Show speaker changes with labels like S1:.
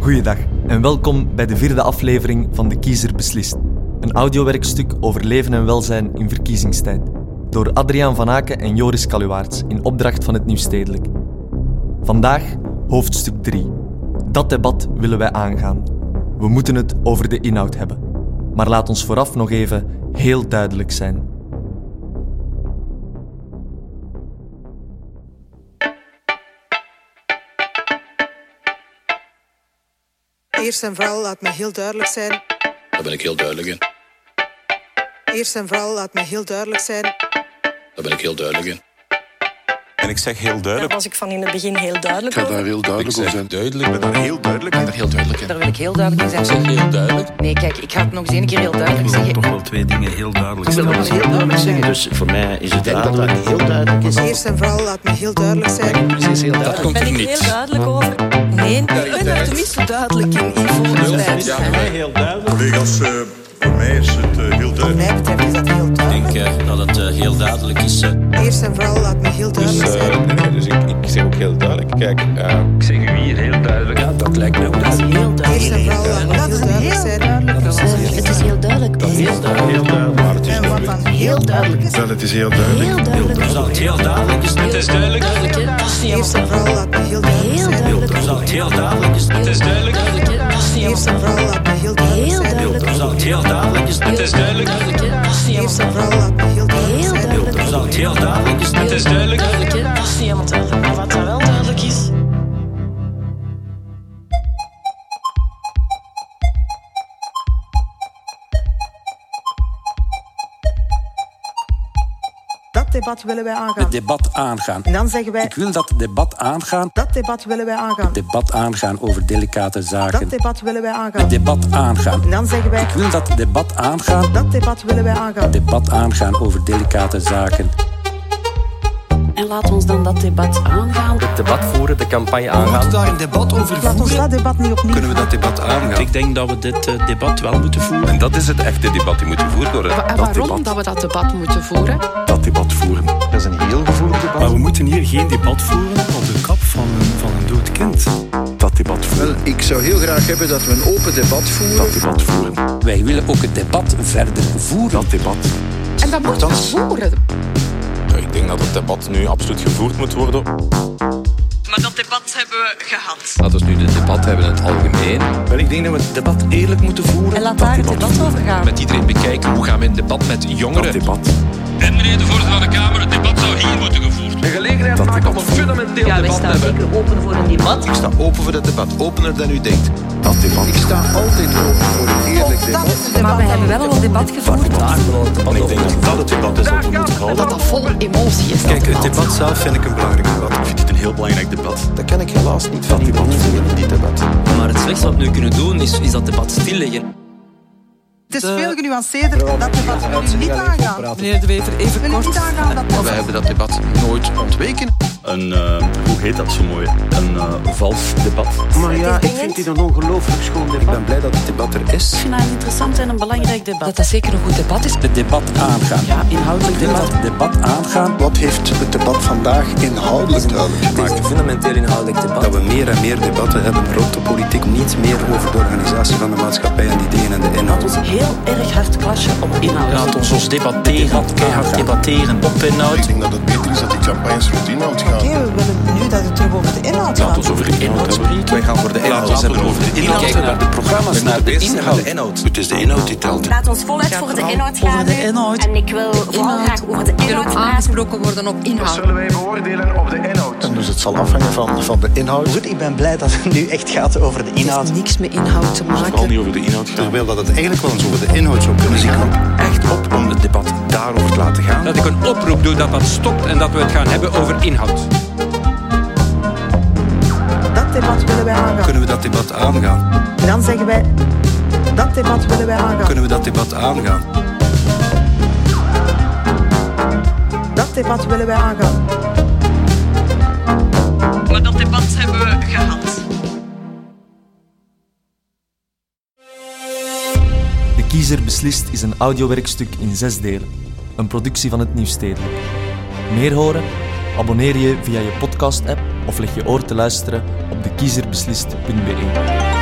S1: Goeiedag en welkom bij de vierde aflevering van De Kiezer Beslist. Een audiowerkstuk over leven en welzijn in verkiezingstijd. Door Adriaan van Aken en Joris Kaluwaerts in opdracht van het Nieuwstedelijk. Vandaag hoofdstuk 3. Dat debat willen wij aangaan. We moeten het over de inhoud hebben. Maar laat ons vooraf nog even heel duidelijk zijn.
S2: Eerst en vooral laat me heel duidelijk zijn.
S3: Daar ben ik heel duidelijk in.
S2: Eerst en vooral laat me heel duidelijk zijn.
S3: Daar ben ik heel duidelijk in.
S4: En ik zeg heel
S5: Daar
S4: duidelijk.
S5: was ik van in het begin heel duidelijk over.
S6: heel
S4: Ik
S6: duidelijk
S4: zeg duidelijk. Ik ben daar heel duidelijk. in.
S3: Heel duidelijk in.
S7: Daar wil ik heel duidelijk in zijn.
S3: Heel duidelijk.
S7: Nee, kijk, ik ga het nog eens één keer heel duidelijk
S8: Ik wil
S7: zeggen.
S8: toch wel twee dingen heel duidelijk
S7: Ik wil nog eens
S8: stellen.
S7: heel
S9: nou
S7: duidelijk zeggen.
S8: Dus voor mij is het
S9: denk dat
S8: raden.
S9: het heel duidelijk is.
S2: Eerst en vooral laat me heel duidelijk zijn.
S9: Precies, heel duidelijk.
S3: Dat komt
S5: Ben
S3: er
S5: ik
S3: niet.
S5: heel duidelijk over? Nee, ik ben daar tenminste duidelijk in. in volgens mij.
S10: Collega's, eh, voor mij is het eh, heel
S2: Wat
S10: duidelijk.
S2: mij betreft is dat heel
S8: Ik denk
S2: duidelijk.
S8: eh, dat het eh, heel duidelijk is. eh.
S2: Eerst en vooral laat me heel
S4: Dus,
S2: duidelijk zijn.
S4: eh, nee, nee, dus ik, ik zeg ook heel duidelijk. Kijk, eh,
S7: Dat is heel
S2: Eerst en
S7: duidelijk.
S2: vooral laat me heel duidelijk zijn.
S5: Eh, Het is heel duidelijk.
S4: maar het is
S2: En wat
S4: duidelijk.
S2: dan heel duidelijk is.
S4: Wel, het is heel duidelijk.
S8: Dus dat het heel duidelijk is. Het is duidelijk.
S2: Eerst en vooral laat me heel duidelijk zijn.
S8: Dus dat het heel duidelijk is. Het is duidelijk.
S2: Eerst en vooral laat me heel duidelijk zijn.
S8: Dus dat het heel duidelijk is. Het is duidelijk.
S2: Eerst en vooral laat me heel duidelijk zijn.
S8: Dus dat het heel duidelijk is. Het is duidelijk.
S5: Dat is niet helemaal duidelijk. Maar wat dan wel duidelijk is,
S2: Dat debat willen wij aangaan.
S3: Het debat aangaan.
S2: En dan zeggen wij,
S3: Ik wil dat debat aangaan.
S2: dat debat willen wij aangaan.
S3: Debat aangaan over delicate zaken.
S2: Dat debat willen wij aangaan.
S3: Debat aangaan.
S2: En dan zeggen wij,
S3: Ik wil dat debat aangaan.
S2: dat debat willen wij aangaan. Dus
S3: Debat aangaan over delicate zaken.
S5: en laat ons dan dat debat aangaan.
S2: Laat ons dat debat niet opnieuw
S4: Kunnen we dat debat aangaan?
S8: Ik denk dat we dit eh, debat wel moeten voeren.
S4: En dat is het echte debat die moet gevoerd worden.
S7: En waarom dat we dat debat moeten voeren?
S4: Dat debat voeren. Dat is een heel gevoelig debat.
S8: Maar we moeten hier geen debat voeren op de kap van een, van een dood kind.
S4: dat debat voeren.
S9: Wel, ik zou heel graag hebben dat we een open debat voeren.
S4: Dat debat voeren.
S3: Wij willen ook het debat verder voeren.
S4: Dat debat.
S7: En dat moeten we voeren.
S4: Ik denk dat het debat nu absoluut gevoerd moet worden.
S5: Maar dat debat hebben we gehad.
S3: Laten we nu het debat hebben in het algemeen.
S4: Maar ik denk dat we het debat eerlijk moeten voeren.
S5: En laat daar het debat over gaan.
S3: Met iedereen bekijken hoe gaan we in debat met jongeren.
S4: debat.
S8: En meneer de voorzitter van de Kamer, het debat zou hier moeten gevoerd worden.
S3: gelegenheid maken om een fundamenteel
S7: Ja, wij staan zeker open voor een debat.
S9: Ik sta open voor dat debat, opener dan u denkt. Dat debat. Ik sta altijd open voor een eerlijk debat.
S5: Maar we hebben wel al een debat gevoerd.
S4: ik denk dat dat het debat is dat we moeten houden.
S7: Dat dat vol emotie is.
S4: Kijk, het debat zelf vind ik een belangrijk debat. Ik vind het een heel belangrijk debat.
S9: Dat kan ik helaas niet van die mannen zeggen in dit debat.
S8: Maar het slechtste wat we nu kunnen doen is, is dat debat stilleggen.
S2: Het is veel genuanceerder dat debat wil u niet aangaan.
S5: Meneer De Wever, even
S2: Wil u niet aangaan dat debat.
S9: Wij hebben dat debat nooit ontweken.
S10: Een, eh, hoe heet dat zo mooi? Een eh, vals debat.
S6: Maar ja, ik vind dit een ongelooflijk schoon debat.
S9: Ik ben blij dat het debat er is.
S5: naar een interessant en een belangrijk debat.
S7: Dat dat zeker een goed debat is.
S3: Het debat aangaan.
S7: Ja, inhoudelijk
S3: Ik wil dat
S7: debat.
S3: het debat aangaan.
S9: Wat heeft het debat vandaag inhoudelijk duidelijk gemaakt?
S3: Fundamenteel inhoudelijk debat.
S9: Dat we meer en meer debatten hebben rond de politiek. Niet meer over de organisatie van de maatschappij en de ideeën en de inhoud.
S7: Ons heel erg hard clashen op inhoud.
S8: Laat ons ons debatteren, keihard debatteren. Op inhoud.
S10: denk dat het beter is dat die campagnes rond inhoud gaan.
S2: Oké, we willen nu dat het terug over de inhoud gaat.
S8: Over de inhoud spreken.
S9: Wij gaan voor de inhoud.
S4: Laten we over de inhoud
S3: Kijken naar de programma's, naar de inhoud.
S4: Het is de inhoud die telt.
S5: Laat ons voluit voor de inhoud gaan.
S8: de inhoud.
S5: En ik wil vooral graag over de inhoud praten.
S7: aangesproken worden op inhoud.
S9: Dus het zal afhangen van, van de inhoud. Goed, ik ben blij dat het nu echt gaat over de Dus
S7: Het heeft niks met inhoud te maken.
S4: niet over de inhoud gaan.
S9: Terwijl dat het eigenlijk wel eens over de inhoud zou kunnen gaan.
S4: echt op om het debat daarover te laten gaan.
S3: Dat ik een oproep doe dat dat stopt en dat we het gaan hebben over inhoud.
S2: Dat debat willen wij aangaan.
S4: Kunnen we dat debat aangaan?
S2: En dan zeggen wij, dat debat willen wij aangaan.
S4: Kunnen we dat debat aangaan?
S2: Dat debat willen wij aangaan.
S5: Maar dat debat hebben we gehad.
S1: De Kiezer Beslist is een audiowerkstuk in zes delen. Een productie van het Nieuwstedelijk. Meer horen? Abonneer je via je podcast-app of leg je oor te luisteren op dekiezerbeslist.be.